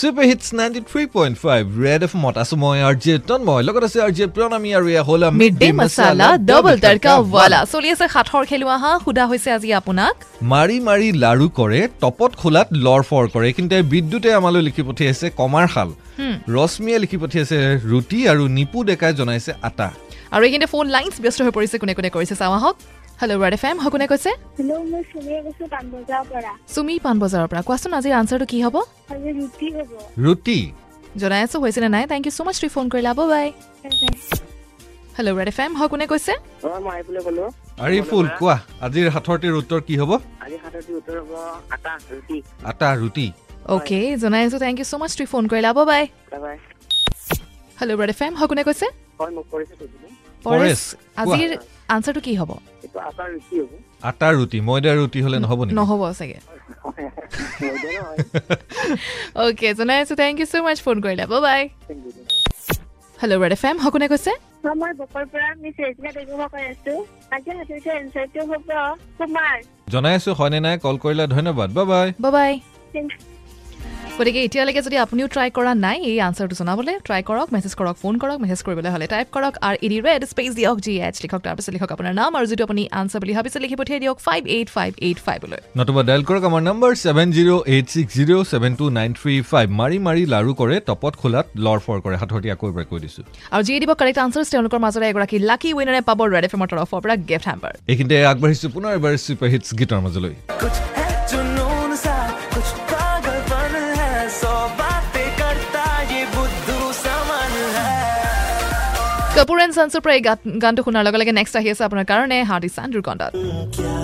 Super hits ninety three point five red F মত আছো মই আৰ জে তন্ময় লগত আছে আৰ জে প্ৰণামী আৰু এয়া হ'ল mid day masala double tadka ৱালা চলি আছে সাঁথৰ খেলুৱা হা সোধা হৈছে আজি আপোনাক মাৰি মাৰি লাৰু কৰে টপত খোলাত লৰফৰ কৰে কিন্তু এই বিদ্যুতে আমালৈ লিখি পঠিয়াইছে কমাৰশাল ৰশ্মিয়ে লিখি পঠিয়াইছে ৰুটি আৰু নিপু ডেকাই জনাইছে আটা আৰু এইখিনিতে ফোন লাইনছ ব্যস্ত হৈ পৰিছে কোনে কোনে কৰিছে চাওঁ আহক হেল্ল' ৰেড এফ এম হয় কোনে কৈছে হেল্ল' মই চুমীয়ে কৈছো পাণবজাৰৰ পৰা চুমি পাণবজাৰৰ পৰা কোৱাচোন আজিৰ আনচাৰটো কি হ'ব আজি ৰুটি হ'ব ৰুটি জনাই আছো হৈছেনে নাই থেংক ইউ ছ' মাছ তুমি ফোন কৰিলা bye bye hello' red F M হয় কোনে কৈছে অ মই আহিবলৈ ক'লো আৰিফুল কোৱা আজিৰ সাঁথৰটিৰ উত্তৰ কি হ'ব আজি সাতটি উত্তৰ হ'ব আটা ৰুটি আটা ৰুটি অ'কে জনাই আছো থেংক ইউ ছ' মাছ তুমি ফোন কৰিলা বাই বাই তাৰপৰা হেল্ল' ৰেড এফ এম হয় কোনে কৈছে হয় মোক কৰিছে সুধিলোঁ পৰেশ, পৰেশ কোৱা। আজিৰ আনচাৰটো কি হ'ব এইটো আটা ৰুটি হ'ব আটা ৰুটি ময়দা ৰুটি হ'লে নহ'ব নেকি নহ'ব চাগে ময়দা নহয় অ'কে জনাই আছো thank you so' much phone কৰিলা bye bye thank you hello' red F M হয় কোনে কৈছে অ, মই বকৰ পৰা মিছ ৰেজিনা বেগমে কৈ আছো আজি সাঁতুৰিটোৰ এনচাৰটো হ'ব কুমাৰ জনাই আছো হয়নে নাই কল কৰিলা ধন্যবাদ বা বাই বাই বাই Thank গতিকে এতিয়ালৈকে যদি আপুনিও ট্ৰাই কৰা নাই এই আনচাৰটো জনাবলৈ ট্ৰাই কৰক মেছেজ কৰক ফোন কৰক মেছেজ কৰিবলৈ হ'লে টাইপ কৰক E R E D red space দিয়ক জি এইচ লিখক তাৰপিছত লিখক আপোনাৰ নাম আৰু যিটো আপুনি আনচাৰ বুলি ভাবিছে লিখি পঠিয়াই দিয়ক ফাইভ এইট ফাইভ এইট ফাইভলৈ নতুবা ডায়েল কৰক আমাৰ number seven zero' eight six zero' seven two nine three five মাৰি মাৰি লাৰু কৰে টপত খোলাত লৰফৰ কৰে সাঁথৰটি আকৌ এবাৰ কৈ দিছোঁ আৰু যিয়ে দিব কাৰেক্ট আনচাৰ্ছ তেওঁলোকৰ মাজৰে এগৰাকী লাকি উইনাৰে পাব ৰেড এফ এমৰ তৰফৰ পৰা গিফ্ট হেম্পাৰ এইখিনিতে আগবাঢ়িছোঁ পুনৰ এবাৰ ছুপাৰ হিটছ গীতৰ মাজলৈ कुछ है जुनून सा कुछ पागलपन है सौ बातें करता ये बुद्धू समन है কাপুৰ এণ্ড চানছৰ পৰা এই গাত- গানটো শুনাৰ লগে লগে নেক্সট আহি আছে আপোনাৰ কাৰণে হাৰ্ডি চান দুৰ্গণ্ডত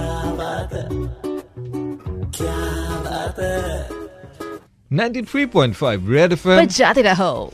ninety three point five red F M যাতে ৰাহ